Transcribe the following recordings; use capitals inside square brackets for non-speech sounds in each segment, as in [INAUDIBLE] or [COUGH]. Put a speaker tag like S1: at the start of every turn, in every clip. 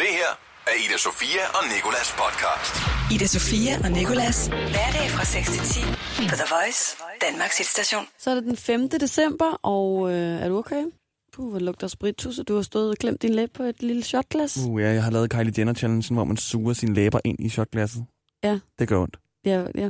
S1: af Ida Sofia og Nikolas podcast.
S2: Ida Sofia og Nikolas. Hverdag fra 6 til 10 på The Voice, Danmarks hitstation.
S3: Så er det den 5. december, og øh, er du okay? Puh, hvor lugter sprittusse. Du har stået og klemt din læbe på et lille shotglas.
S4: Uh, ja, jeg har lavet Kylie Jenner-challengen, hvor man suger sine læber ind i shotglasset.
S3: Ja.
S4: Det gør ondt.
S3: Ja, ja.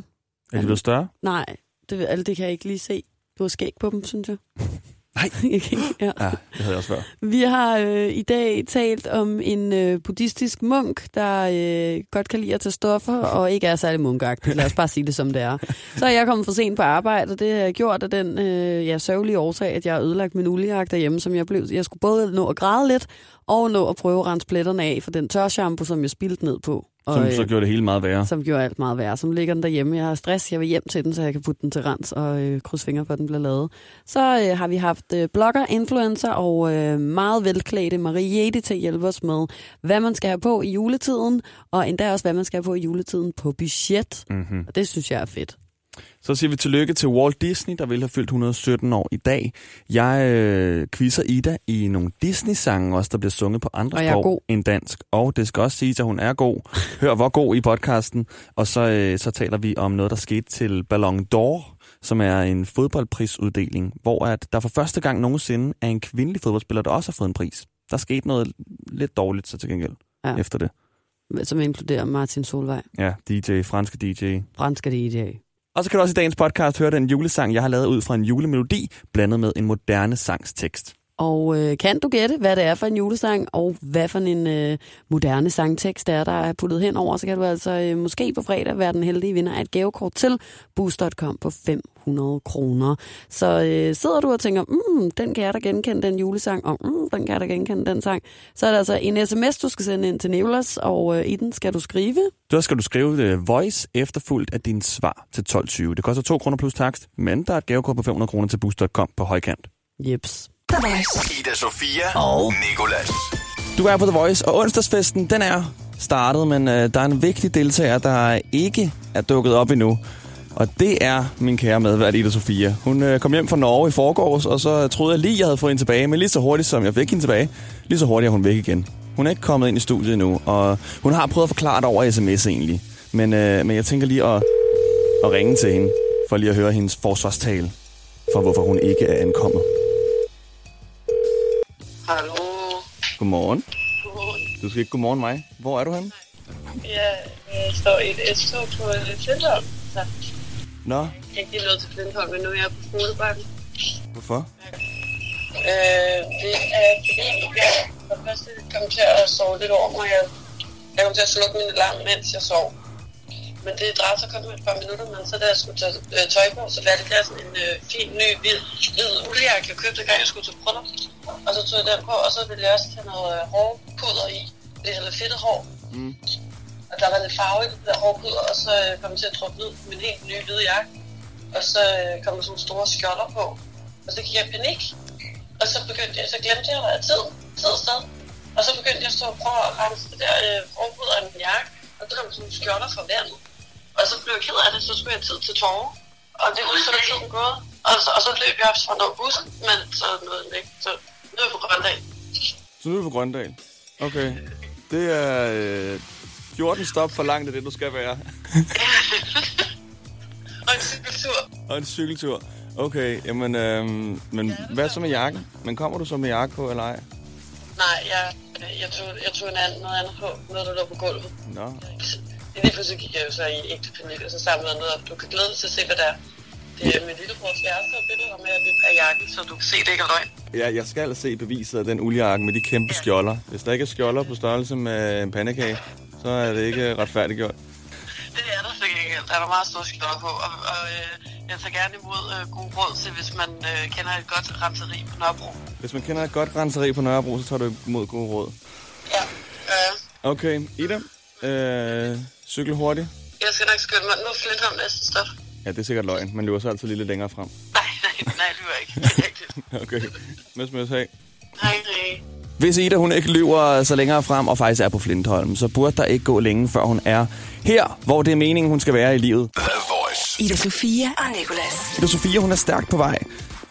S4: Er de blevet større?
S3: Nej, det, ved- altså, det kan jeg ikke lige se. Du har skæg på dem, synes jeg.
S4: Nej. Ah,
S3: Jeg kan ikke- [LAUGHS] ja.
S4: Ja, det havde jeg også før.
S3: Vi har øh, i dag talt om en øh, buddhistisk munk, der øh, godt kan lide at tage stoffer og ikke er særlig munkagtig. Lad os bare sige det, som det er. Så er jeg kommet for sent på arbejde, og det har jeg gjort af den øh, ja, sørgelige årsag, at jeg har ødelagt min uljagt derhjemme, som jeg blev. Jeg skulle både nå at græde lidt og nå at prøve at rense pletterne af for den tørshampoo, som jeg spildte ned på. [LAUGHS] Og,
S4: Som
S3: øh,
S4: så gjorde det hele meget værre.
S3: som gjorde alt meget værre. Som ligger den derhjemme. Jeg har stress. Jeg vil hjem til den, så jeg kan putte den til rens og øh, krydse fingre på, at den bliver lavet. Så øh, har vi haft øh, blogger, influencer og øh, meget velklædte Mariette til at hjælpe os med, hvad man skal have på i juletiden, og endda også, hvad man skal have på i juletiden på budget.
S4: Mm-hmm.
S3: Og det synes jeg er fedt.
S4: Så siger vi tillykke til Walt Disney, der vil have fyldt 117 år i dag. Jeg øh, quizzer Ida i nogle Disney-sange også, der bliver sunget på andre
S3: Og jeg er god.
S4: sprog end dansk. Og det skal også siges, at hun er god. Hør, hvor god i podcasten. Og så, øh, så taler vi om noget, der skete til Ballon d'Or, som er en fodboldprisuddeling, hvor at der for første gang nogensinde er en kvindelig fodboldspiller, der også har fået en pris. Der skete noget lidt dårligt så til gengæld
S3: Ja.
S4: ja. efter det.
S3: Som inkluderer Martin Solvej.
S4: Ja, DJ, franske DJ.
S3: Fransk er det i dag.
S4: Og så kan du også i dagens podcast høre den julesang, jeg har lavet ud fra en julemelodi, blandet med en moderne sangstekst.
S3: Og øh, kan du gætte, hvad det er for en julesang, og hvad for en øh, moderne sangtekst der er, der er puttet hen over, så kan du altså øh, måske på fredag være den heldige vinder af et gavekort til Boost.com på 500 kroner. Så øh, sidder du og tænker, mm, den kan jeg da genkende, den julesang, og mm, den kan jeg da genkende, den sang, så er det altså en sms, du skal sende ind til Nicolas, og øh, i den skal du skrive,
S4: Så skal du skrive øh, voice efterfuldt af din svar til 12.20. Det koster 2 kroner plus takst, men der er et gavekort på 500 kroner til boost.com på højkant.
S3: jeps.
S2: The Voice.
S1: Ida Sofia og Nikolas.
S4: Du er på The Voice, og onsdagsfesten den er startet, men øh, der er en vigtig deltager, der ikke er dukket op endnu. Og det er min kære medvært Ida Sofia. Hun øh, kom hjem fra Norge i forgårs, og så troede jeg lige, jeg havde fået hende tilbage. Men lige så hurtigt, som jeg fik hende tilbage, lige så hurtigt er hun væk igen. Hun er ikke kommet ind i studiet endnu, og hun har prøvet at forklare det over sms egentlig. Men, øh, men jeg tænker lige at, at ringe til hende, for lige at høre hendes forsvarstale for, hvorfor hun ikke er ankommet.
S5: Hallo.
S4: Godmorgen. Du skal ikke godmorgen mig. Hvor er du henne?
S5: Jeg øh, står i et S-tog på øh, Flintholm. Så jeg
S4: Nå,
S5: er ikke lige nået til Flintholm, men nu er jeg på Smuglebakken.
S4: hvorfor?
S5: Øh, det er fordi, jeg for det første kom til at sove lidt over mig. Jeg, jeg kom til at slukke min alarm, mens jeg sov. Men det drejede sig kun om et par minutter, men så da jeg skulle tage øh, tøj på, så valgte jeg sådan en øh, fin, ny, hvid, hvid uldjakke, jeg købte, gang jeg skulle til bryllup. Og så tog jeg den på, og så ville jeg også tage noget øh, hårpuder i. Det havde fedtet hår.
S4: Mm.
S5: Og der var lidt farve i det der hårpuder, og så øh, kom jeg til at drøbe ned på min helt nye hvide jakke. Og så øh, kom der sådan nogle store skjolder på. Og så gik jeg i panik. Og så begyndte jeg, så glemte jeg, at der er tid, tid og sted. Og så begyndte jeg så at prøve at rense det der øh, forhud af min jakke. Og så kom sådan nogle skjolder fra vandet. Og så blev jeg ked af det, så skulle jeg have tid til tårer. Og det ud, så var tiden gået. Og så, og så løb jeg op fra bussen, men så nåede den ikke. Så nu er jeg på Grøndal.
S4: Så nu er du på Grøndal. Okay. Det er øh, 14 stop for langt af det, du skal være. [LAUGHS]
S5: Og en cykeltur.
S4: Og en cykeltur. Okay, jamen, øh, men hvad så med jakken? Men kommer du så med jakke på, eller ej?
S5: Nej, jeg, øh, jeg, tog, jeg tog en anden, noget andet på, noget der lå på gulvet.
S4: Nå.
S5: Lige pludselig gik jeg jo så i ægte panik, og så samlede jeg noget op. Du kan glæde dig til at se, hvad der er. Det er min lillebrors kæreste, og billeder ham af, af jakken, så du kan se, det ikke er løgn.
S4: Ja, jeg skal se beviset af den uldjakke med de kæmpe skjolder. Hvis der ikke er skjolder på størrelse med en pandekage, så er det ikke retfærdiggjort.
S5: Det er der sikkert ikke. Der er der meget store skjolder på, og, og øh, jeg tager gerne imod øh, gode råd til, hvis man øh, kender et godt renseri på Nørrebro.
S4: Hvis man kender et godt renseri på Nørrebro, så tager du imod gode råd.
S5: Ja, øh,
S4: Okay, Ida, øh, cykel hurtigt.
S5: jeg skal nok skynde mig. Nu er Flintholm næste stop.
S4: Ja, det er sikkert løgn. Man løber så altid lige lidt længere frem. [LAUGHS]
S5: Nej, nej, nej, det var ikke. Det er rigtigt.
S4: Okay, møs, møs, hej.
S5: Hej, hej.
S4: Hvis Ida hun ikke lyver så længere frem og faktisk er på Flintholm, så burde der ikke gå længe, før hun er her, hvor det er meningen, hun skal være i livet.
S1: The Voice.
S2: Ida Sofia og Nikolas.
S4: Ida Sofia, hun er stærkt på vej.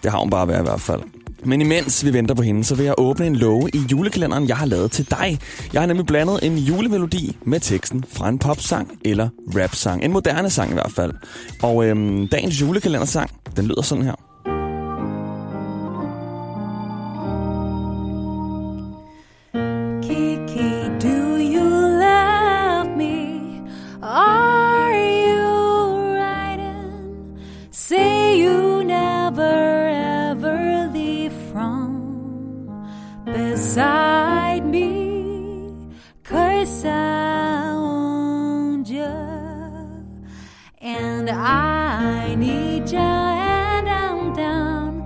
S4: Det har hun bare været i hvert fald. Men imens vi venter på hende, så vil jeg åbne en låge i julekalenderen, jeg har lavet til dig. Jeg har nemlig blandet en julemelodi med teksten fra en popsang eller rapsang. En moderne sang i hvert fald. Og øhm, dagens julekalendersang, den lyder sådan her.
S6: Kiki, do you love me? Are you writing? Say you never ever leave from beside me. Cause I want you. And I need you, and I'm down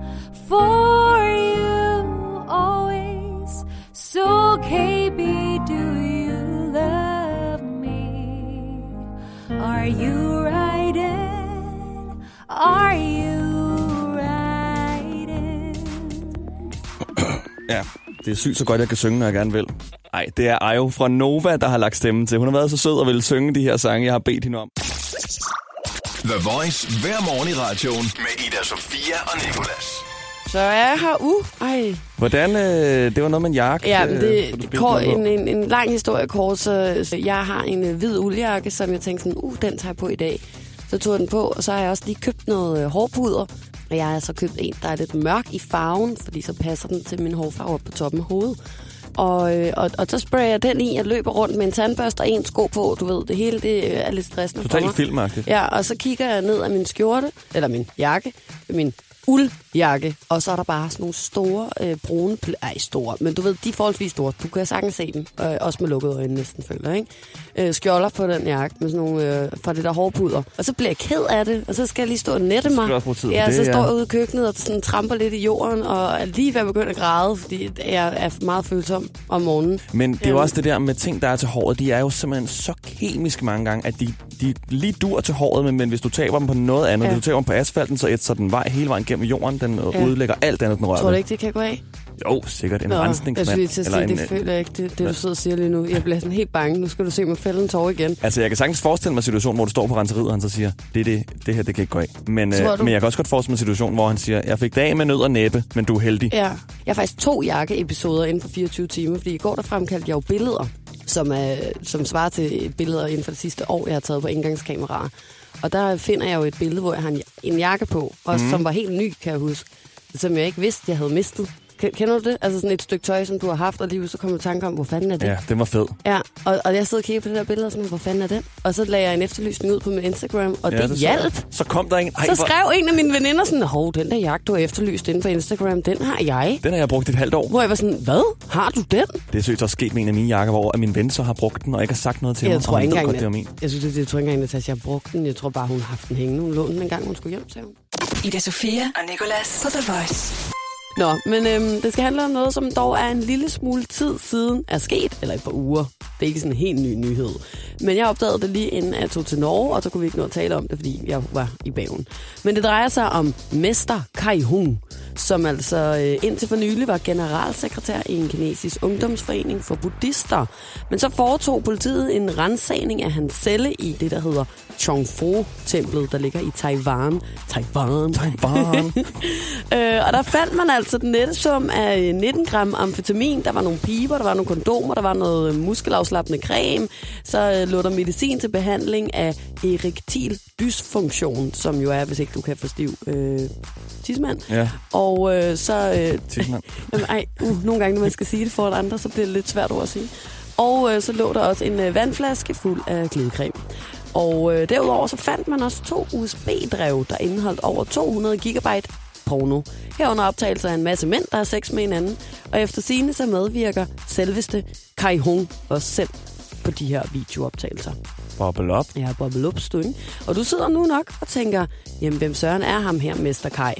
S6: for you always. So, KB, do you love me? Are you riding? Are you riding?
S4: Ja, det er sygt så godt, jeg kan synge, når jeg gerne vil. Nej, det er Ayo fra Nova, der har lagt stemmen til. Hun har været så sød og vil synge de her sange, jeg har bedt hende om.
S1: The Voice hver morgen i radioen med Ida Sofia og Nicolas.
S3: Så er jeg her. Uh, ej.
S4: Hvordan? Øh, det var noget med en jakke.
S3: Ja,
S4: øh,
S3: men
S4: hvor du
S3: det
S4: spilte
S3: kort,
S4: noget på.
S3: en, en, en lang historie kort, så, så jeg har en øh, hvid uldjakke, som jeg tænkte sådan, uh, den tager jeg på i dag. Så tog jeg den på, og så har jeg også lige købt noget øh, hårpuder, og jeg har så købt en, der er lidt mørk i farven, fordi så passer den til min hårfarve op på toppen af hovedet. Og, øh, og, og så sprayer jeg den i, jeg løber rundt med en tandbørste og en sko på, du ved, det hele det øh, er lidt stressende for
S4: Totalt
S3: mig.
S4: filmagtigt.
S3: Ja, og så kigger jeg ned af min skjorte, eller min jakke, min uldjakke, og så er der bare sådan nogle store øh, brune, pl- ej store, men du ved, de er forholdsvis store, du kan sagtens se dem, øh, også med lukkede øjne næsten føler, jeg, ikke? Øh, skjolder på den jakke med sådan nogle, øh, fra det der hårpuder, og så bliver jeg ked af det, og så skal jeg lige stå og nette mig.
S4: du også bruge tid på
S3: ja,
S4: det,
S3: så
S4: ja.
S3: står jeg ude i køkkenet og sådan tramper lidt i jorden, og er lige ved at begynde at græde, fordi jeg er meget følsom om morgenen.
S4: Men det er jo også det der med ting, der er til håret. De er jo simpelthen så kemiske mange gange, at de, de lige dur til håret, men, men hvis du taber dem på noget andet,
S3: Ja.
S4: ja. hvis du taber dem på asfalten, så ætser den vej hele vejen gennem jorden. Den
S3: Ja.
S4: ja. udlægger alt andet, den rører
S3: Tror du
S4: ved.
S3: ikke, det kan gå af?
S4: Jo, sikkert en
S3: Nå, jeg
S4: rensningsmand. øh,
S3: skulle lige til at sige, det føler jeg ikke, det, det du sidder og siger lige nu. Jeg bliver sådan helt bange. Nu skal du se mig fælde en tår igen.
S4: Altså, jeg kan sagtens forestille mig en situation, hvor du står på renseriet, og han så siger, det, er det, det her, det kan ikke gå af. Men,
S3: Tror
S4: øh,
S3: du?
S4: men jeg kan også godt forestille mig en situation, hvor han siger, jeg fik det af med nød og næppe, men du er heldig.
S3: Ja. Jeg har faktisk to jakkeepisoder inden for 24 timer, fordi i går der fremkaldte jeg jo billeder, som, er, som svarer til billeder inden for det sidste år, jeg har taget på engangskameraer. Og der finder jeg jo et billede, hvor jeg har en, en jakke på, og mm. som var helt ny, kan jeg huske, som jeg ikke vidste, jeg havde mistet. Ken- Kender du det? Altså sådan et stykke tøj, som du har haft, og lige så kommer du i tanke om, hvor fanden er det?
S4: Ja, den var fed.
S3: Ja, og, og jeg sidder og kigger på det der billede og sådan, hvor fanden er den? Og så lagde jeg en efterlysning ud på min Instagram, og ja, det, det
S4: så jeg.
S3: hjalp.
S4: Så kom der en. Ej,
S3: Så
S4: hvor-
S3: skrev en af mine veninder sådan, hov, den der jakke, du har efterlyst inde på Instagram, den har jeg.
S4: Den har jeg brugt et halvt år.
S3: Hvor jeg var sådan, hvad? Har du den?
S4: Det er søgt også sket med en af mine jakker, hvor at min ven så har brugt den, og ikke har sagt noget til
S3: Jeg
S4: mig.
S3: tror
S4: og han
S3: ikke
S4: ved
S3: engang,
S4: godt, det var min.
S3: jeg, jeg, synes, det, jeg tror ikke engang, Natasha har brugt den. Jeg tror bare, hun har haft den hængende. Hun lånte den en gang, hun skulle hjem til ham.
S2: Ida Sofia og Nicolas på The Voice.
S3: Nå, men øhm, det skal handle om noget, som dog er en lille smule tid siden er sket, eller et par uger. Det er ikke sådan en helt ny nyhed. Men jeg opdagede det lige inden jeg tog til Norge, og så kunne vi ikke nå at tale om det, fordi jeg var i bagen. Men det drejer sig om Mester Kai Hung, som altså øh, indtil for nylig var generalsekretær i en kinesisk ungdomsforening for buddhister. Men så foretog politiet en rensagning af hans celle i det, der hedder Chongfu-templet, der ligger i Taiwan. Taiwan.
S4: Barn.
S3: [LAUGHS] Øh, og der fandt man altså den nette sum af øh, 19 gram amfetamin. Der var nogle piber, der var nogle kondomer, der var noget øh, muskelafslappende creme. Så øh, lå der medicin til behandling af erektil dysfunktion, som jo er, hvis ikke du kan få stiv øh, tidsmand.
S4: Ja.
S3: Og øh, så... Øh,
S4: Tidsmand.
S3: [LAUGHS] Jamen, ej, uh, nogle gange, når man skal sige det foran andre, så bliver det lidt svært ord at sige. Og øh, så lå der også en øh, vandflaske fuld af glidecreme. Og øh, derudover så fandt man også to USB-drev, der indeholdt over 200 gigabyte porno. Herunder optagelser af en masse mænd, der har sex med hinanden. Og efter sine så medvirker selveste Kai Hung også selv på de her videooptagelser. [LAUGHS]
S4: Bobbel op.
S3: Jeg har bobbet op stønge. Og du sidder nu nok og tænker, jamen hvem søren er ham her, Mester Kai?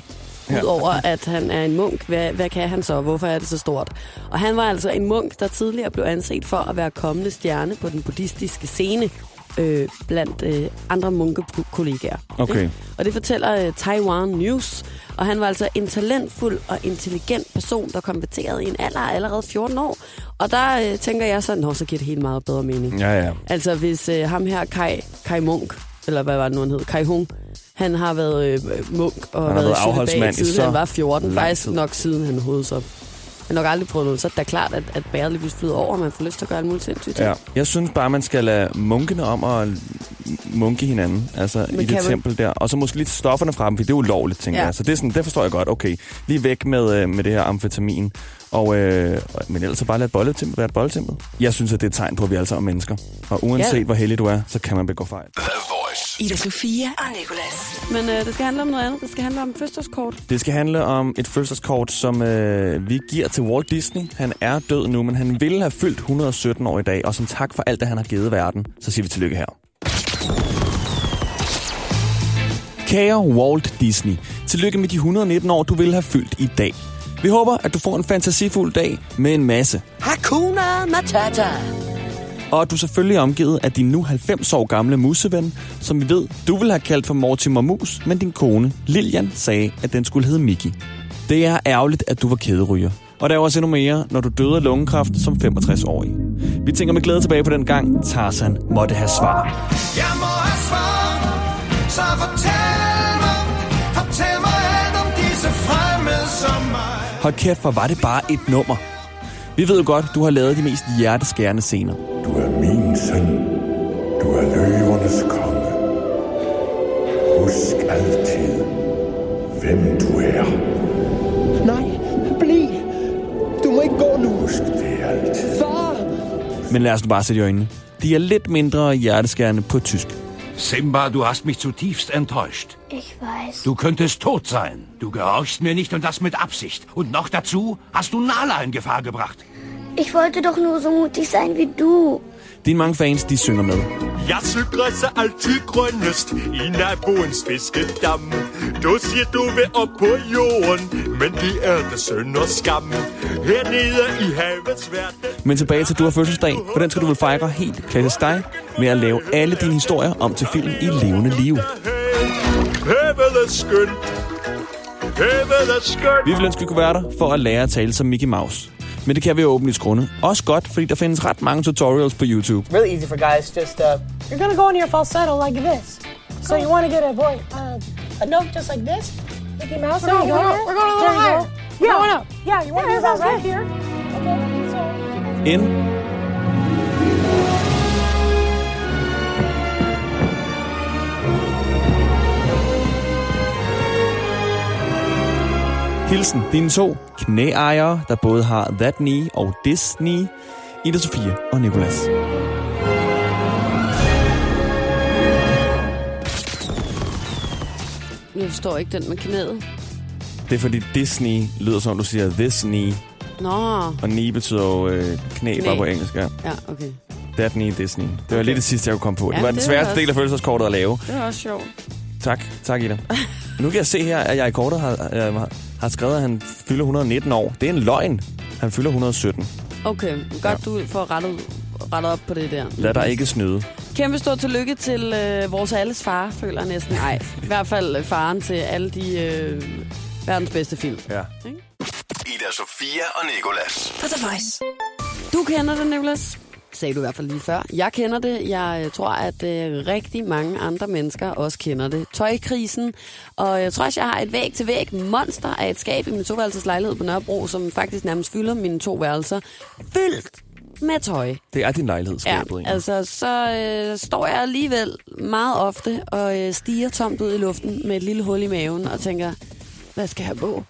S3: Udover at han er en munk, hvad, hvad kan han så? Hvorfor er det så stort? Og han var altså en munk, der tidligere blev anset for at være kommende stjerne på den buddhistiske scene øh, blandt øh, andre munkekollegaer.
S4: Okay.
S3: Og det fortæller øh, Taiwan News. Og han var altså en talentfuld og intelligent person, der konverterede i en alder af allerede 14 år. Og der øh, tænker jeg så, nå, så giver det helt meget bedre mening.
S4: Ja, ja.
S3: Altså hvis øh, ham her, Kai, Kai Munk, eller hvad var det nu, han hed, Kai Hung, Han har været øh, munk og han været,
S4: har
S3: i
S4: været
S3: cølibat
S4: afholdsmand i
S3: siden
S4: så
S3: han var 14.
S4: lang
S3: Faktisk
S4: tid.
S3: nok siden han hovedede sig op. Han har nok aldrig prøvet noget, så er det da klart, at, at bæret lige pludselig flyder over, og man får lyst til at gøre alt muligt sindssygt. ting.
S4: Ja. Jeg synes bare, man skal lade munkene om at munke hinanden, altså
S3: Men
S4: i
S3: kan
S4: det
S3: man-
S4: tempel der. Og så måske lidt stofferne fra dem, for det er ulovligt, tænker
S3: Ja.
S4: ja. jeg. Så det, er sådan, det forstår jeg godt. Okay, lige væk med, øh, med det her amfetamin. Og, øh, og- men ellers så bare lad bolletempel være et bolletempel. Jeg synes, at det er et tegn på, at vi alle sammen er mennesker. Og uanset
S3: Ja.
S4: ja. hvor heldig du er, så kan man begå fejl.
S1: The Voice.
S2: Ida Sofia og Nicolas.
S3: Men øh, det skal handle om noget andet. Det skal handle om fødselskort.
S4: Det skal handle om et fødselskort, som øh, vi giver til Walt Disney. Han er død nu, men han ville have fyldt 117 år i dag. Og som tak for alt, det han har givet verden, så siger vi tillykke her. Kære Walt Disney, tillykke med de 119 år, du ville have fyldt i dag. Vi håber, at du får en fantasifuld dag med en masse.
S2: Hakuna Matata.
S4: Og at du selvfølgelig er omgivet af din nu 90 år gamle museven, som vi ved, du ville have kaldt for Mortimer Mus, men din kone, Lilian, sagde, at den skulle hedde Mickey. Det er ærgerligt, at du var kæderyger. Og der er også endnu mere, når du døde af lungekræft som 65-årig. Vi tænker med glæde tilbage på den gang, Tarzan måtte have svar.
S7: Jeg må have svar, så fortæl mig, fortæl mig alt om disse fremmede som mig.
S4: Hold kæft, hvor var det bare et nummer. Vi ved jo godt, du har lavet de mest hjerteskærende scener.
S8: Du er min søn. Du er løvernes konge. Husk altid, hvem du er.
S9: Nej, bliv! Du må ikke gå nu.
S8: Husk det altid.
S9: Far!
S4: Men lad os nu bare sætte i øjnene. De er lidt mindre hjerteskærende på tysk.
S10: Simba, du hast mich zutiefst enttäuscht.
S11: Ich weiß.
S10: Du könntest tot sein. Du gehorchst mir nicht und das mit Absicht. Und noch dazu hast du Nala in Gefahr gebracht.
S11: Ich wollte doch nur so mutig sein wie du.
S4: Dine mange fans, de synger med.
S7: Jasselgræs er altid grønnest i naboens fiskedam. Du siger, du vil op på jorden, men det er det synd og skam. Hernede i havets verden.
S4: Men tilbage til Du har fødselsdag, for den skal du vel fejre helt klassisk dig med at lave alle dine historier om til film i levende liv.
S7: Havet er skønt. Havet er skønt.
S4: Vi ville ønske, vi kunne være der for at lære at tale som Mickey Mouse. Men det kan vi jo åbenlyst grunde. Også godt, fordi der findes ret mange tutorials på YouTube.
S9: Really easy for guys, just, uh, you're gonna go into your falsetto like this. So you wanna get a boy, uh, a note just like this? Mickey Mouse? We're going, we're going, we're going a little higher. Yeah, going up. yeah, you wanna do that right here? Okay, so...
S4: Ind. Hilsen, dine to knæejere, der både har That Knee og This Knee, Ida Sofia og Nicolas.
S3: Jeg forstår ikke den med knæet.
S4: Det er fordi Disney lyder som om du siger this knee,
S3: Nå,
S4: og knee betyder jo øh, knæ,
S3: Knæ.
S4: bare på engelsk. Ja.
S3: ja, okay.
S4: That knee, Disney. Det var lidt det sidste, jeg kunne komme på. Ja,
S3: Ja,
S4: det var
S3: men
S4: den
S3: det
S4: sværeste
S3: var også-
S4: del af følelseskortet at lave.
S3: Det er også sjovt.
S4: Tak,
S3: [LAUGHS]
S4: tak Ida. nu kan jeg se her, at jeg i kortet har, øh, har skrevet, at han fylder 119 år. Det er en løgn. Han fylder 117.
S3: Okay, godt du får rettet, rettet op på det der.
S4: Lad dig ikke snyde.
S3: Kæmpe stor tillykke til øh, vores alles far, føler jeg næsten. Nej, i hvert fald øh, faren til alle de øh, verdens bedste film.
S4: Ja.
S1: Ida Sofia og Nicolas.
S2: På The Voice.
S3: Du kender det, Nicolas. Sagde du i hvert fald lige før. Jeg kender det. Jeg øh, tror, at øh, rigtig mange andre mennesker også kender det. Tøjkrisen. Og jeg tror også, jeg har et væg til væg monster af et skab i min toværelseslejlighed på Nørrebro, som faktisk nærmest fylder mine to værelser. Fyldt med tøj.
S4: Det er din lejlighed,
S3: Ja,
S4: skabet. Ja, altså...
S3: altså så øh, står jeg alligevel meget ofte og øh, stiger tomt ud i luften med et lille hul i maven og tænker, hvad skal jeg på?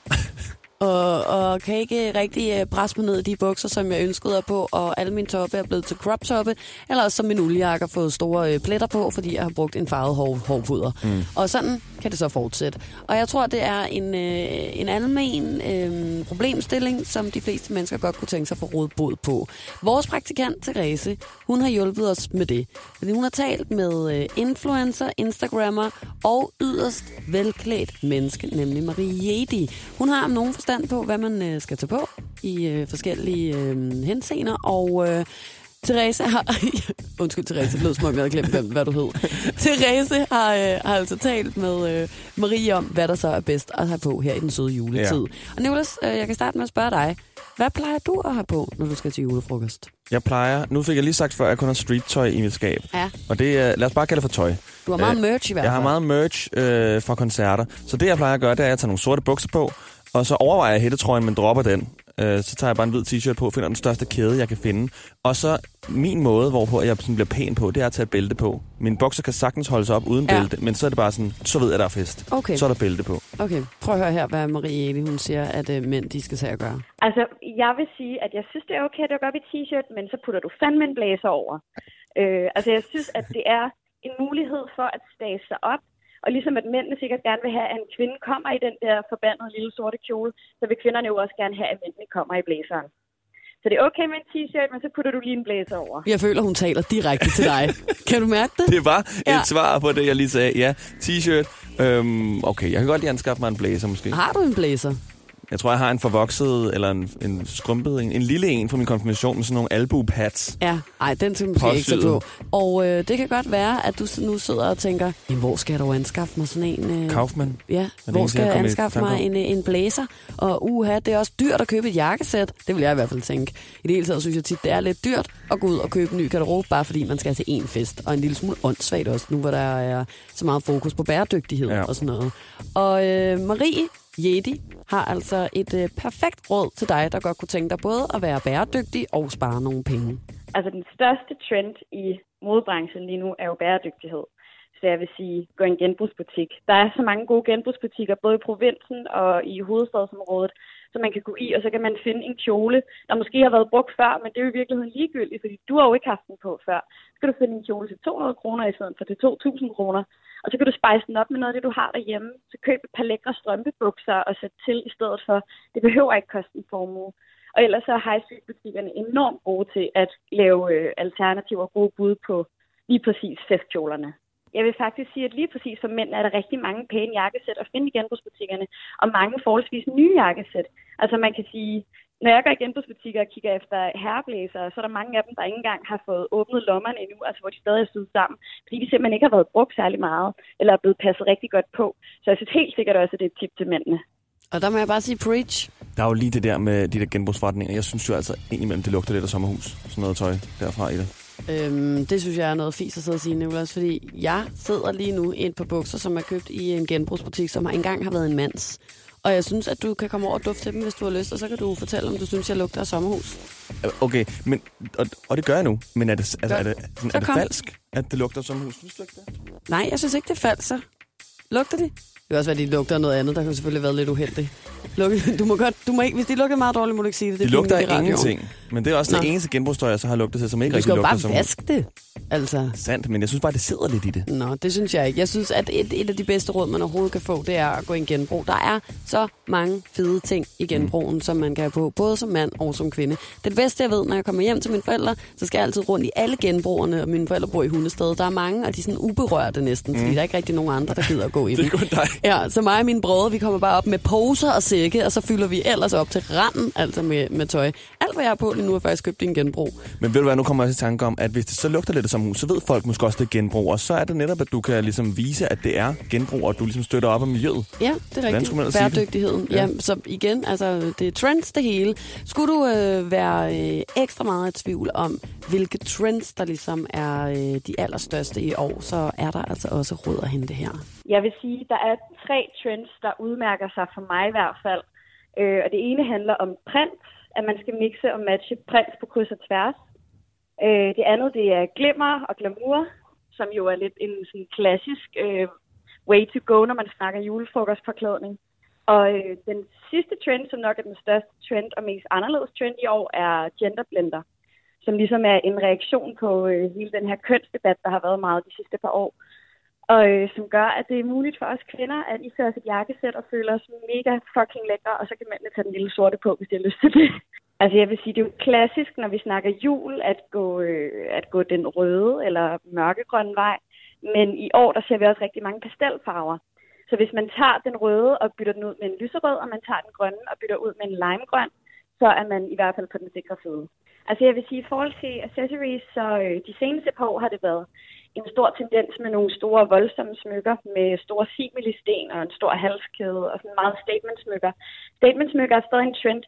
S3: og, og kan ikke rigtig øh, presse mig ned i de bukser, som jeg ønskede at på, og alle mine toppe er blevet til crop toppe, eller også som min uldjakke har fået store øh, pletter på, fordi jeg har brugt en farvet hår, hårpuder. Mm. Og sådan kan det så fortsætte. Og jeg tror, det er en, øh, en almen øh, problemstilling, som de fleste mennesker godt kunne tænke sig at få råd bod på. Vores praktikant, Therese, hun har hjulpet os med det. Fordi hun har talt med øh, influencer, instagrammer og yderst velklædt menneske, nemlig Marie Jedi. Hun har om nogen forstand på, hvad man øh, skal tage på i øh, forskellige øh, henseender, og... Øh, Therese har... [LAUGHS] Undskyld, Therese, det lød som om jeg havde glemt, hvem, hvad du
S4: [LAUGHS]
S3: hed. Therese har, øh, har altså talt med øh, Marie om, hvad der så er bedst at have på her i den søde juletid. Ja. Og Nicolas, øh, jeg kan starte med at spørge dig. Hvad plejer du at have på, når du skal til julefrokost?
S4: Jeg plejer, nu fik jeg lige sagt før, at jeg kun har street-tøj i mit skab.
S3: Ja.
S4: Og det er, lad os bare kalde det for tøj.
S3: Du har meget merch i hvert
S4: Øh, Jeg har
S3: fald.
S4: meget merch øh, fra koncerter. Så det, jeg plejer at gøre, det er, at jeg tager nogle sorte bukser på, og så overvejer jeg hættetrøjen, men dropper den. Øh, så tager jeg bare en hvid t-shirt på, finder den største kæde, jeg kan finde. Og så min måde, hvorpå jeg sådan bliver pæn på, det er at tage et bælte på. Min bukser kan sagtens holde sig op uden
S3: Ja.
S4: ja. bælte, men så er det bare sådan, så ved jeg, at der er fest.
S3: Okay.
S4: Så er der bælte på.
S3: Okay, prøv at høre her, hvad Marie Eli, hun siger, at øh, mænd, de skal tage at gøre.
S12: Altså, jeg vil sige, at jeg synes, det er okay at dukke op i t-shirt, men så putter du fandme en blæser over. Øh, altså, jeg synes, at det er en mulighed for at stage sig op. Og ligesom at mændene sikkert gerne vil have, at en kvinde kommer i den der forbandede lille sorte kjole, så vil kvinderne jo også gerne have, at mændene kommer i blæseren. Så det er okay med en t-shirt, men så putter du lige en blæser over.
S3: Jeg føler, hun taler direkte til dig. kan du mærke det?
S4: Det var
S3: Ja.
S4: et svar på det, jeg lige sagde. Ja, t-shirt. Øhm, okay, jeg kan godt lige anskaffe mig en blæser måske.
S3: Har du en blæser?
S4: Jeg tror, jeg har en forvokset, eller en, en skrumpet, en, en lille en fra min konfirmation med sådan nogle albupads.
S3: Ja, nej, den skal du måske ikke tage på.
S4: Påsyet.
S3: Og øh, det kan godt være, at du s- nu sidder og tænker, "Jamen, hvor skal jeg dog anskaffe mig sådan en... Øh,
S4: Kaufmann.
S3: Ja,
S4: den
S3: hvor
S4: eneste,
S3: skal
S4: jeg
S3: jeg
S4: kom i
S3: anskaffe
S4: tanke
S3: mig en,
S4: om.
S3: øh, en blæser? Og uha, det er også dyrt at købe et jakkesæt. Det vil jeg i hvert fald tænke. I det hele taget synes jeg tit, det er lidt dyrt at gå ud og købe en ny garderobe, bare fordi man skal til én fest. Og en lille smule åndssvagt også, nu hvor der er så meget fokus på bæredygtighed ja.
S13: Ja.
S3: og sådan noget. Og øh, Marie Jedi har altså et øh, perfekt råd til dig, der godt kunne tænke dig både at være bæredygtig og spare nogle penge.
S12: Altså den største trend i modebranchen lige nu er jo bæredygtighed. Så jeg vil sige, gå i en genbrugsbutik. Der er så mange gode genbrugsbutikker, både i provinsen og i hovedstadsområdet, som man kan gå i, og så kan man finde en kjole, der måske har været brugt før, men det er jo i virkeligheden ligegyldigt, fordi du har jo ikke haft den på før. Så kan du finde en kjole til 200 kroner i stedet for til 2.000 kroner, og så kan du spejse den op med noget af det, du har derhjemme. Så køb et par lækre strømpebukser og sæt til i stedet for. Det behøver ikke koste en formue. Og ellers så er high street butikkerne enormt gode til at lave øh, alternativer og gode bud på lige præcis festkjolerne. Jeg vil faktisk sige, at lige præcis for mænd er der rigtig mange pæne jakkesæt at finde i genbrugsbutikkerne, og mange forholdsvis nye jakkesæt. Altså man kan sige, når jeg går i genbrugsbutikker og kigger efter herreblæsere, så er der mange af dem, der ikke engang har fået åbnet lommerne endnu, altså hvor de stadig er syet sammen, fordi de simpelthen ikke har været brugt særlig meget, eller er blevet passet rigtig godt på. Så jeg synes helt sikkert også, at det er et tip til mændene.
S3: Og der må jeg bare sige preach.
S4: Der er jo lige det der med de der genbrugsforretninger. Jeg synes jo altså indimellem, det lugter lidt af sommerhus. Sådan noget tøj derfra i det.
S3: Øhm, det synes jeg er noget fis at sidde og sige, Nicolas, fordi jeg sidder lige nu i et par bukser, som er købt i en genbrugsbutik, som engang har været en mands. Og jeg synes, at du kan komme over og dufte til dem, hvis du har lyst, og så kan du fortælle, om du synes, jeg lugter af sommerhus.
S4: Øh, Okay, men, og, og det gør jeg nu. Men er det, altså,
S3: Gør-
S4: er det, sådan,
S3: Så
S4: er det
S3: kom.
S4: falsk, at det lugter af sommerhus? Synes du ikke det?
S3: Nej, jeg synes ikke, det er falser. Lugter de? Det kan også være, de lugter af noget andet, der kan selvfølgelig have været lidt uheldig. Lugte- Du må godt, du må ikke, hvis de lugter meget dårligt, må du ikke sige det.
S4: Det
S3: det
S4: de
S3: er
S4: lugter
S3: pinligt i
S4: af
S3: radioen.
S4: ingenting. Men det er også
S3: Nå.
S4: det eneste genbrugstøj, jeg så har lugtet til, som ikke
S3: Du skal jo
S4: rigtig lugter af
S3: bare
S4: sommerhus.
S3: vaske det. Altså.
S4: Sandt, men jeg synes bare, det sidder lidt i det.
S3: Nå, det synes jeg ikke. Jeg synes, at et, et af de bedste råd, man overhovedet kan få, det er at gå i en genbrug. Der er så mange fede ting i genbrugen, mm. som man kan have på, både som mand og som kvinde. Det bedste, jeg ved, når jeg kommer hjem til mine forældre, så skal jeg altid rundt i alle genbrugerne, og mine forældre bor i Hundested. Der er mange, og de er sådan uberørte næsten, fordi
S13: Mm.
S3: der er ikke rigtig nogen andre, der gider at gå i dem.
S13: [LAUGHS] Det er kun dig.
S3: Ja, så mig og mine brødre, vi kommer bare op med poser og sække, og så fylder vi ellers op til randen, altså med, med tøj. Alt, hvad jeg har på lige nu, er faktisk købt i en genbrug.
S4: Men ved du hvad, nu kommer jeg til tanke om, at hvis det så lugter lidt af sommerhus, så ved folk måske også, det er genbrug. Og så er det netop, at du kan ligesom vise, at det er genbrug, og du ligesom støtter op om miljøet.
S3: Ja, det er
S4: Hvordan skulle man
S3: rigtigt.
S4: ellers sige det?
S3: Bæredygtigheden. Ja.
S4: Ja.
S3: ja, så igen, altså det er trends det hele. Skulle du øh, være øh, ekstra meget i tvivl om, hvilke trends, der ligesom er øh, de allerstørste i år, så er der altså også råd at hente her.
S12: Jeg vil sige, der er tre trends, der udmærker sig for mig i hvert fald. Øh, og det ene handler om print, at man skal mixe og matche print på kryds og tværs. Øh, det andet, det er glimmer og glamour, som jo er lidt en sådan klassisk øh, way to go, når man snakker julefrokostforklædning. Og øh, den sidste trend, som nok er den største trend og mest anderledes trend i år, er genderblender, som ligesom er en reaktion på øh, hele den her kønsdebat, der har været meget de sidste par år og øh, som gør, at det er muligt for os kvinder, at I os et jakkesæt og føler os mega fucking lækre, og så kan mændene tage den lille sorte på, hvis de har lyst til det. [LAUGHS] Altså jeg vil sige, det er jo klassisk, når vi snakker jul, at gå, øh, at gå den røde eller mørkegrønne vej. Men i år, der ser vi også rigtig mange pastelfarver. Så hvis man tager den røde og bytter den ud med en lyserød, og man tager den grønne og bytter ud med en limegrøn, så er man i hvert fald på den sikre side. Altså jeg vil sige, i forhold til accessories, så øh, de seneste par år har det været en stor tendens med nogle store, voldsomme smykker, med store similisten og en stor halskæde og sådan meget statement-smykker. Statement-smykker er stadig en trend,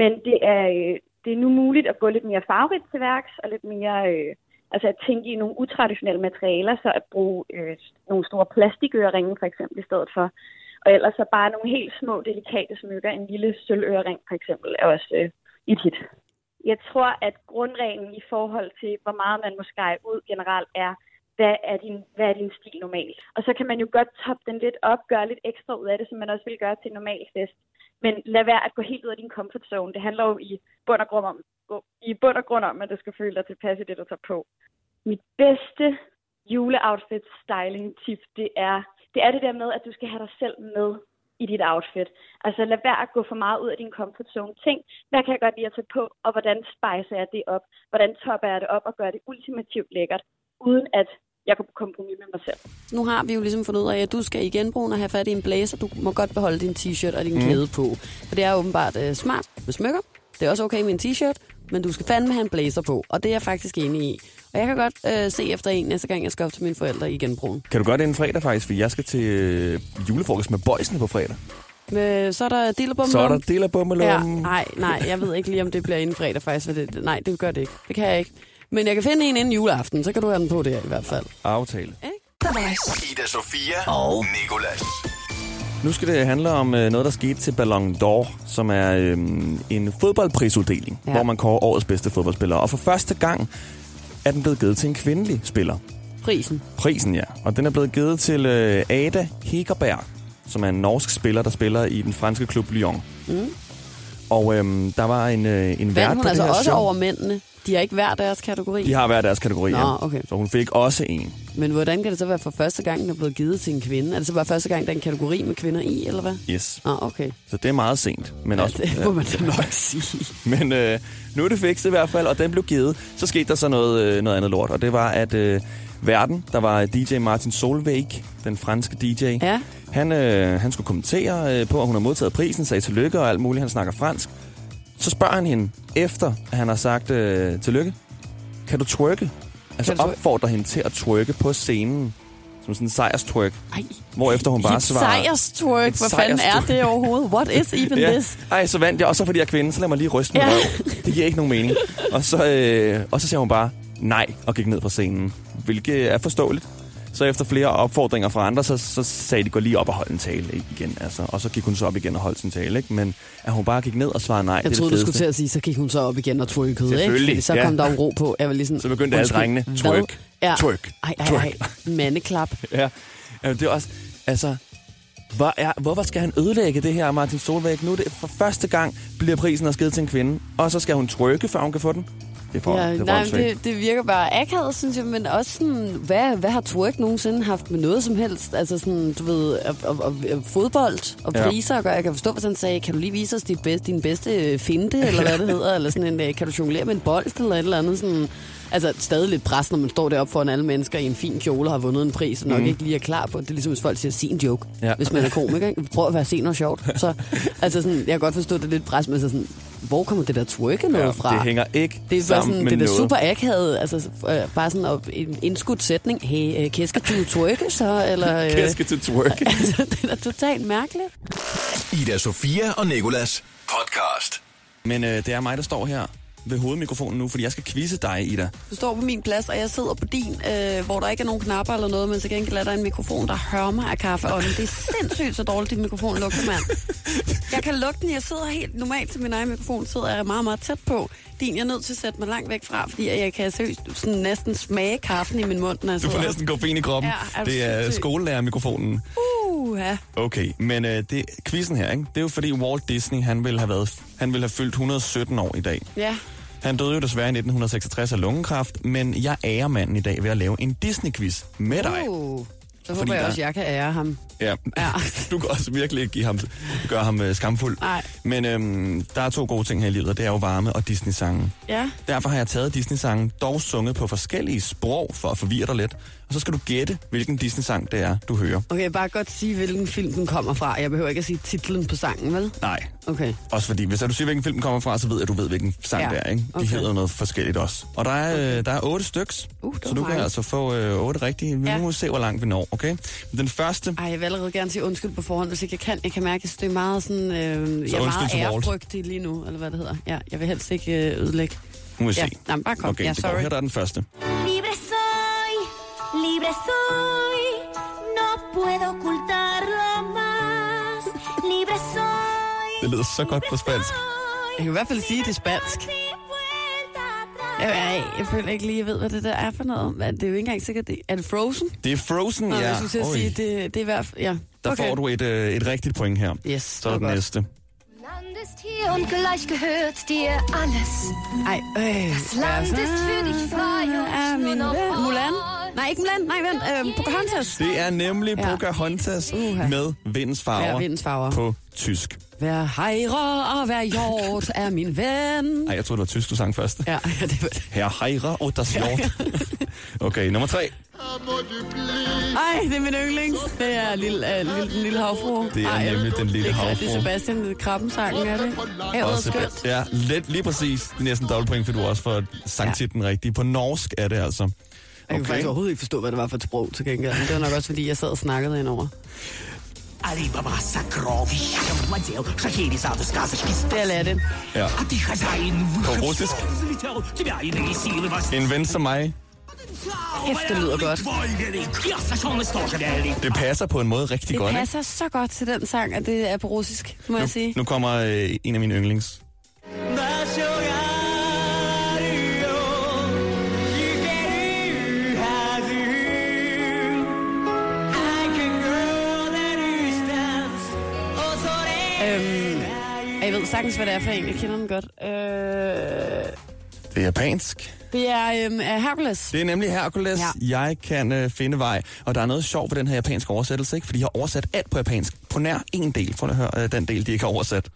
S12: Men det er, øh, det er nu muligt at gå lidt mere farverigt til værks, og lidt mere øh, altså at tænke i nogle utraditionelle materialer, så at bruge øh, nogle store plastikøringe for eksempel i stedet for. Og ellers så bare nogle helt små, delikate smykker. En lille sølvøring for eksempel er også øh, et hit. Jeg tror, at grundreglen i forhold til, hvor meget man må skære ud generelt, er, hvad er, din, hvad er din stil normalt? Og så kan man jo godt toppe den lidt op, gøre lidt ekstra ud af det, som man også vil gøre til en normal fest. Men lad være at gå helt ud af din comfort zone. Det handler jo i bund og grund om, i bund og grund om at du skal føle dig tilpas i det, du tager på. Mit bedste juleoutfit styling tip, det er, det er det der med, at du skal have dig selv med i dit outfit. Altså lad være at gå for meget ud af din comfort zone. Tænk, hvad kan jeg godt lide at tage på, og hvordan spejser jeg det op? Hvordan topper jeg det op og gør det ultimativt lækkert, uden at jeg går på kompromis med mig selv.
S3: Nu har vi jo ligesom fundet ud af, at du skal i genbrugen og have fat i en blazer. Du må godt beholde din t-shirt og din
S4: Mm.
S3: mm. kæde på. For det er åbenbart øh, smart med smykker. Det er også okay med en t-shirt, men du skal fandme have en blazer på. Og det er jeg faktisk enig i. Og jeg kan godt øh, se efter en næste gang, jeg skal op til mine forældre i genbrugen.
S4: Kan du gøre det en fredag faktisk, for jeg skal til øh, julefrokost med boysene på fredag.
S3: Men, så er der dillerbommelum.
S4: Så er der dillerbommelum.
S3: Ja, nej, nej, jeg ved ikke lige, om det bliver inden fredag faktisk. for Det, nej, det gør det ikke. Det kan jeg ikke. Men jeg kan finde en inden juleaften, så kan du have den på der i hvert fald.
S4: Aftale.
S2: The Voice.
S1: Ida Sofia og Nikolas.
S4: Nu skal det handle om øh, noget, der skete til Ballon d'Or, som er øh, en fodboldprisuddeling, ja. hvor man kårer årets bedste fodboldspiller. Og for første gang er den blevet givet til en kvindelig spiller.
S3: Prisen.
S4: Prisen, ja. Og den er blevet givet til øh, Ada Hegerberg, som er en norsk spiller, der spiller i den franske klub Lyon.
S3: Mm.
S4: Og øhm, der var en, øh, en vært
S3: Vandt
S4: på
S3: hun altså
S4: det her
S3: også
S4: show.
S3: over mændene. De er ikke hver deres kategori.
S4: De har hver deres kategori,
S3: Nå,
S4: ja.
S3: okay.
S4: Så hun fik også en.
S3: Men hvordan kan det så være for første gang, den er blevet givet til en kvinde? Er det så bare første gang, der er en kategori med kvinder i, eller hvad?
S4: Yes.
S3: Ah, okay.
S4: Så det er meget sent. Men
S3: Ja,
S4: også,
S3: det må man da nok sige.
S4: [LAUGHS] Men øh, nu er det fikset i hvert fald, og den blev givet. Så skete der så noget, øh, noget andet lort, og det var, at øh, verden, der var DJ Martin Solveig, den franske DJ,
S3: ja.
S4: han, øh, han skulle kommentere øh, på, at hun har modtaget prisen, sagde tillykke og alt muligt, han snakker fransk. Så spørger han hende, efter at han har sagt øh, tillykke, kan du twerke? Altså
S3: Kan du twerke?
S4: opfordrer hende til at twerke på scenen, som sådan en sejrstwerk.
S3: Ej,
S4: hvorefter hun bare
S3: Et
S4: svarer...
S3: sejrstwerk. Hvad fanden er
S4: sejrstwerk.
S3: det overhovedet? What is even [LAUGHS]
S4: [LAUGHS] ja.
S3: this?
S4: Ej, så vandt jeg, og så fordi jeg er kvinde, så lad mig lige ryste min
S3: Ja.
S4: røv. Det giver ikke nogen mening. Og så, øh, og så siger hun bare nej, og gik ned fra scenen, hvilket er forståeligt. Så efter flere opfordringer fra andre, så, så sagde de, gå lige op og hold en tale ikke? igen. Altså. Og så gik hun så op igen og holdt sin tale. Ikke? Men at hun bare gik ned og svarede nej,
S3: Jeg
S4: det er
S3: troede,
S4: det
S3: du skulle
S4: fedeste.
S3: til at sige, så gik hun så op igen og twerkede, ikke?
S4: Selvfølgelig,
S3: Fordi så
S4: ja.
S3: kom der jo ro på. Jeg var lige sådan,
S4: Så begyndte alle
S3: undskyld,
S4: drengene,
S3: hvad?
S4: twerk,
S3: ja.
S4: twerk,
S3: Ej, ej, ej,
S4: twerk.
S3: mandeklap.
S4: Ja, Jamen, det er også... Altså, hvor er, hvorfor skal han ødelægge det her, Martin Solvæk? Nu er det for første gang, bliver prisen også givet til en kvinde. Og så skal hun trykke, før hun kan få den. Det er for,
S3: Ja,
S4: det er
S3: nej, men
S4: åndssvagt.
S3: det, det virker bare akavet, synes jeg, men også sådan, hvad, hvad har twerk nogensinde haft med noget som helst? Altså sådan, du ved, og, og, og, og fodbold og
S4: Ja.
S3: priser, og jeg kan forstå, hvis han sagde, kan du lige vise os dit bedste, din bedste øh, finte, eller hvad
S4: [LAUGHS]
S3: det hedder, eller sådan en, øh, kan du jonglere med en bold, eller et eller andet sådan... Altså stadig lidt pres, når man står deroppe foran alle mennesker i en fin kjole og har vundet en pris, og nok
S4: Mm.
S3: mm. ikke lige er klar på. Det er ligesom, hvis folk siger, sig en joke,
S4: Ja.
S3: ja. hvis man er komiker.
S4: [LAUGHS]
S3: Ikke? Prøv at være sen og sjovt. Så, altså sådan, jeg kan godt forstå, det er lidt pres, men så sådan, hvor kommer det der twerke noget
S4: Ja,
S3: fra?
S4: det hænger ikke
S3: Det er bare
S4: sammen
S3: sådan,
S4: med
S3: det der
S4: noget.
S3: super akavet, altså øh, bare sådan op, en indskudt sætning. Hey, øh, kæske du twerke så?
S4: [LAUGHS]
S3: Eller, øh,
S4: Kæske til
S3: [LAUGHS]
S4: twerk.
S3: altså, det er da totalt mærkeligt.
S1: Ida Sofia og Nikolas podcast.
S4: Men øh, det er mig, der står her ved hovedmikrofonen nu, fordi jeg skal quizze dig, Ida.
S3: Du står på min plads, og jeg sidder på din, øh, hvor der ikke er nogen knapper eller noget, men til gengæld er der en mikrofon, der hører mig af kaffeånden. Det er sindssygt så dårligt, din mikrofon lugter, mand. Jeg kan lugte den, jeg sidder helt normalt til min egen mikrofon, sidder jeg meget, meget tæt på. Din, jeg er nødt til at sætte mig langt væk fra, fordi jeg kan seriøst sådan næsten smage kaffen i min mund, når jeg
S4: Du får
S3: sidder.
S4: næsten koffein i kroppen.
S3: Ja, er du
S4: det er
S3: sindssyg?
S4: skolelærermikrofonen.
S3: Uh, ja.
S4: Okay, men øh, det, quizzen her, ikke? det er jo fordi Walt Disney, han ville, have været, han ville have fyldt 117 år i dag.
S3: Ja.
S4: Han døde jo desværre i 1966 af lungekræft, men jeg ærer manden i dag ved at lave en Disney-quiz med dig.
S3: Uh, så
S4: Fordi
S3: håber jeg
S4: der-
S3: også, jeg kan ære ham.
S4: Ja.
S3: Ja.
S4: [LAUGHS] Du kan også virkelig ikke give ham, gøre ham øh, skamfuld.
S3: Nej.
S4: Men øhm, der er to gode ting her i livet, og det er jo varme og Disney-sangen.
S3: Ja.
S4: Derfor har jeg taget Disney-sangen, dog sunget på forskellige sprog for at forvirre dig lidt. Og så skal du gætte, hvilken Disney-sang det er, du hører.
S3: Okay, jeg bare godt sige, hvilken film den kommer fra. Jeg behøver ikke at sige titlen på sangen, vel?
S4: Nej.
S3: Okay.
S4: Også fordi, hvis du siger, hvilken film den kommer fra, så ved jeg, at du ved, hvilken sang
S3: Ja.
S4: det er. Ikke? De
S3: Okay.
S4: hedder noget forskelligt også. Og der er, okay. der er otte styks,
S3: Uh, det
S4: så
S3: var
S4: du kan
S3: mange.
S4: altså få øh, otte rigtige. Vi
S3: Ja.
S4: må se, hvor langt vi når, Okay? Men den første...
S3: Ej, jeg vil allerede gerne sige undskyld på forhånd, hvis ikke jeg kan. Jeg kan mærke, at det er meget sådan... Øh, jeg er
S4: undskyld
S3: meget
S4: til Walt.
S3: ærefrygtig lige nu, eller hvad det hedder. Ja, jeg vil helst ikke øh, ødelægge.
S4: Nu må vi
S3: ja.
S4: se.
S3: Nej, men bare kom.
S4: Okay,
S3: ja,
S4: det går.
S3: sorry.
S4: Her der er den første.
S13: Libre soy, libre soy, no puedo ocultarlo más. Libre soy,
S4: Det lyder så godt på spansk.
S3: Jeg kan i hvert fald sige, at det er spansk. Jeg, jeg, jeg føler ikke lige, jeg ved, hvad det der er for noget. Men Det er jo ikke engang sikkert. det- Er det Frozen?
S4: Det er Frozen,
S3: Nå,
S4: ja.
S3: Jeg skulle til at
S4: Oj.
S3: sige, det, det er i hvert fald... Ja.
S4: Der okay. får du et, øh, et rigtigt point her.
S3: Yes,
S4: så er den
S3: det var godt.
S4: næste.
S14: bist hier und gleich gehört dir alles.
S3: Ej, øh.
S14: Das Land ist für dich frei
S3: Ah,
S14: und nur
S3: min
S14: noch
S3: ven. Mulan?
S14: voll.
S3: Nej, ikke Mulan. Nej, vent. Øh, Pocahontas.
S4: Det er nemlig
S3: Ja.
S4: ja. Pocahontas
S3: Uha.
S4: med vindens farver,
S3: Ja, vindens farver.
S4: på tysk.
S3: Vær hejre og vær hjort er min ven.
S4: Nej, jeg tror det var tysk, du sang først.
S3: Ja, [LAUGHS] det var
S4: Herre Heira og das
S3: [LAUGHS]
S4: Lord. Okay, nummer tre.
S3: Ej, det er min yndlings. Det er lille, øh, lille, den lille havfru.
S4: Det er
S3: Ej,
S4: nemlig den lille
S3: det, er- Det er
S4: havfru.
S3: Sebastian det er Krabben-sangen, er det? Havet er
S4: Også-
S3: skønt.
S4: Ja, let, lige præcis. Det er næsten dobbeltpoint, for du også for sangtitlen ja. rigtig. På norsk er det altså.
S3: Jeg kunne faktisk overhovedet ikke forstå, hvad det var for et sprog til gengæld. Men det var nok også, fordi jeg sad og snakkede indover.
S15: Алибаба, сокровища, владел, шахери, саду, сказочки,
S3: Det er Aladdin.
S4: Ja.
S15: А ты хозяин,
S4: På
S15: выход,
S4: russisk.
S15: залетел, тебя иные силы вас...
S4: En ven som mig.
S3: Kæft, det lyder godt.
S15: Твой велик, я сошелность тоже велик.
S4: Det passer på en måde rigtig
S3: Det
S4: godt. ikke?
S3: passer så godt til den sang, at det er på russisk, må jeg sige.
S4: Nu kommer øh, en af mine yndlings.
S3: Øhm, og jeg ved sagtens, hvad det er for en. Jeg kender den godt. Øh,
S4: Det er japansk.
S3: det er øhm, er Hercules.
S4: Det er nemlig Hercules. Ja. Jeg kan øh, finde vej. Og der er noget sjovt ved den her japanske oversættelse, ikke? For de har oversat alt på japansk. På nær en del. Prøv at høre øh, den del, de ikke har oversat.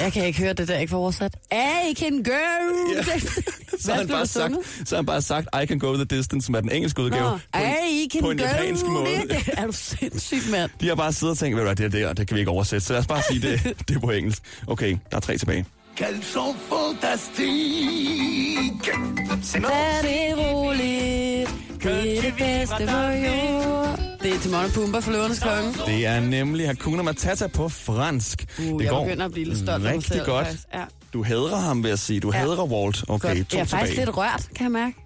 S3: Jeg kan ikke høre det der, ikke for oversat. I can go! [LAUGHS] Yeah.
S4: [LAUGHS] Så har, han bare sagt, så har han bare sagt, I can go the distance, som er den engelske udgave.
S3: Nå,
S4: på en,
S3: I can
S4: på en
S3: go
S4: japansk måde.
S3: Det [LAUGHS] er du sindssygt, mand.
S4: De har bare siddet og tænkt, hvad er det der, det kan vi ikke oversætte. Så lad os bare sige,
S3: [LAUGHS]
S4: det, det er på engelsk. Okay, der er tre tilbage.
S15: Kalsom fantastik.
S3: Tag det roligt. Det er det bedste på jord. Det er Timon og Pumba for løvernes konge.
S4: Det er nemlig Hakuna Matata på fransk.
S3: Uh,
S4: det
S3: jeg begynder at blive lidt stolt af mig
S4: rigtig
S3: selv,
S4: godt.
S3: faktisk. Ja.
S4: Du hedrer ham, vil jeg sige. Du
S3: Ja.
S4: ja. hedrer Walt. Okay,
S3: Godt.
S4: to
S3: jeg er
S4: tilbage.
S3: faktisk lidt rørt, kan jeg mærke.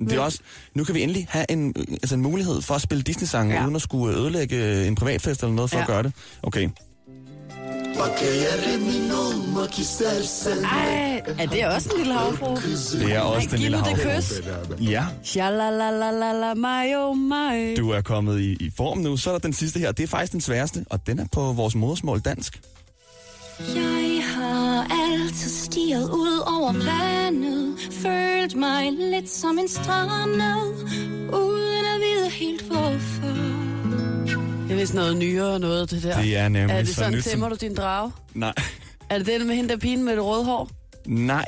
S4: Det er også, nu kan vi endelig have en, altså en mulighed for at spille Disney-sange,
S3: Ja.
S4: ja. uden at skulle ødelægge en privatfest eller noget for
S3: Ja.
S4: ja. at gøre det. Okay.
S3: Ej, er det også en lille havfru?
S4: Det er også
S3: Ej,
S4: den lille
S3: Giv nu det
S4: havfru.
S3: kys.
S4: Ja,
S3: Shalalalala, my oh my.
S4: du er kommet i, i form nu. Så er der den sidste her. Det er faktisk den sværeste, og den er på vores modersmål dansk.
S13: Jeg har altid stiget ud over vandet Følt mig lidt som en strandet Uden at vide helt hvorfor
S3: Det er vist noget nyere noget, det der.
S4: Det er nemlig
S3: Er det
S4: så
S3: sådan,
S4: nyt som-
S3: tæmmer du din drage?
S4: Nej, [LAUGHS]
S3: Er det den med hende der pigen med det røde hår?
S4: nej.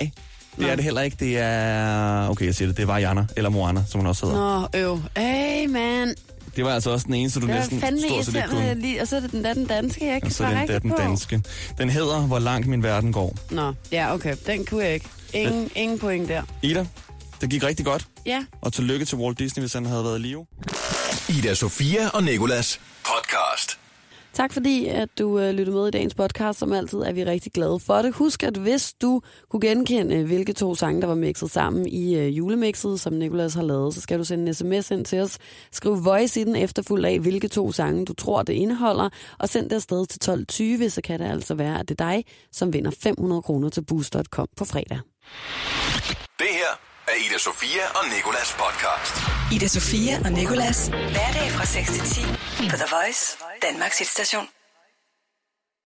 S4: Det er det heller ikke. Det er... Okay, jeg siger det. Det var Jana, eller Moana, som hun også hedder.
S3: Nå, øv. Ey, man.
S4: Det var altså også den eneste, du
S3: Det er
S4: næsten
S3: fandme
S4: stort set ikke
S3: irriterende.
S4: kunne.
S3: lige- Og så er det den der, den danske, jeg ikke
S4: Og
S3: kan
S4: så
S3: svare
S4: den, der,
S3: rigtigt
S4: den
S3: på.
S4: danske. Den hedder Hvor langt min verden går.
S3: Nå, ja, okay. Den kunne jeg ikke. Ingen, ingen point der.
S4: Ida, det gik rigtig godt.
S3: Ja.
S4: Og tillykke til Walt Disney, hvis han havde været i live.
S1: Ida Sofia og Nikolas podcast.
S3: Tak fordi, at du øh, lyttede med i dagens podcast. Som altid er vi rigtig glade for det. Husk, at hvis du kunne genkende, øh, hvilke to sange, der var mixet sammen i øh, julemixet, som Nikolas har lavet, så skal du sende en sms ind til os. Skriv voice i den efterfuld af, hvilke to sange du tror, det indeholder, og send det afsted til 12.20, så kan det altså være, at det er dig, som vinder 500 kroner til boost.com på fredag.
S1: Det her er Ida Sofia og Nikolas podcast.
S2: Ida Sofia og Nikolas. Hverdag fra 6 til 10 på The Voice, Danmarks hitstation.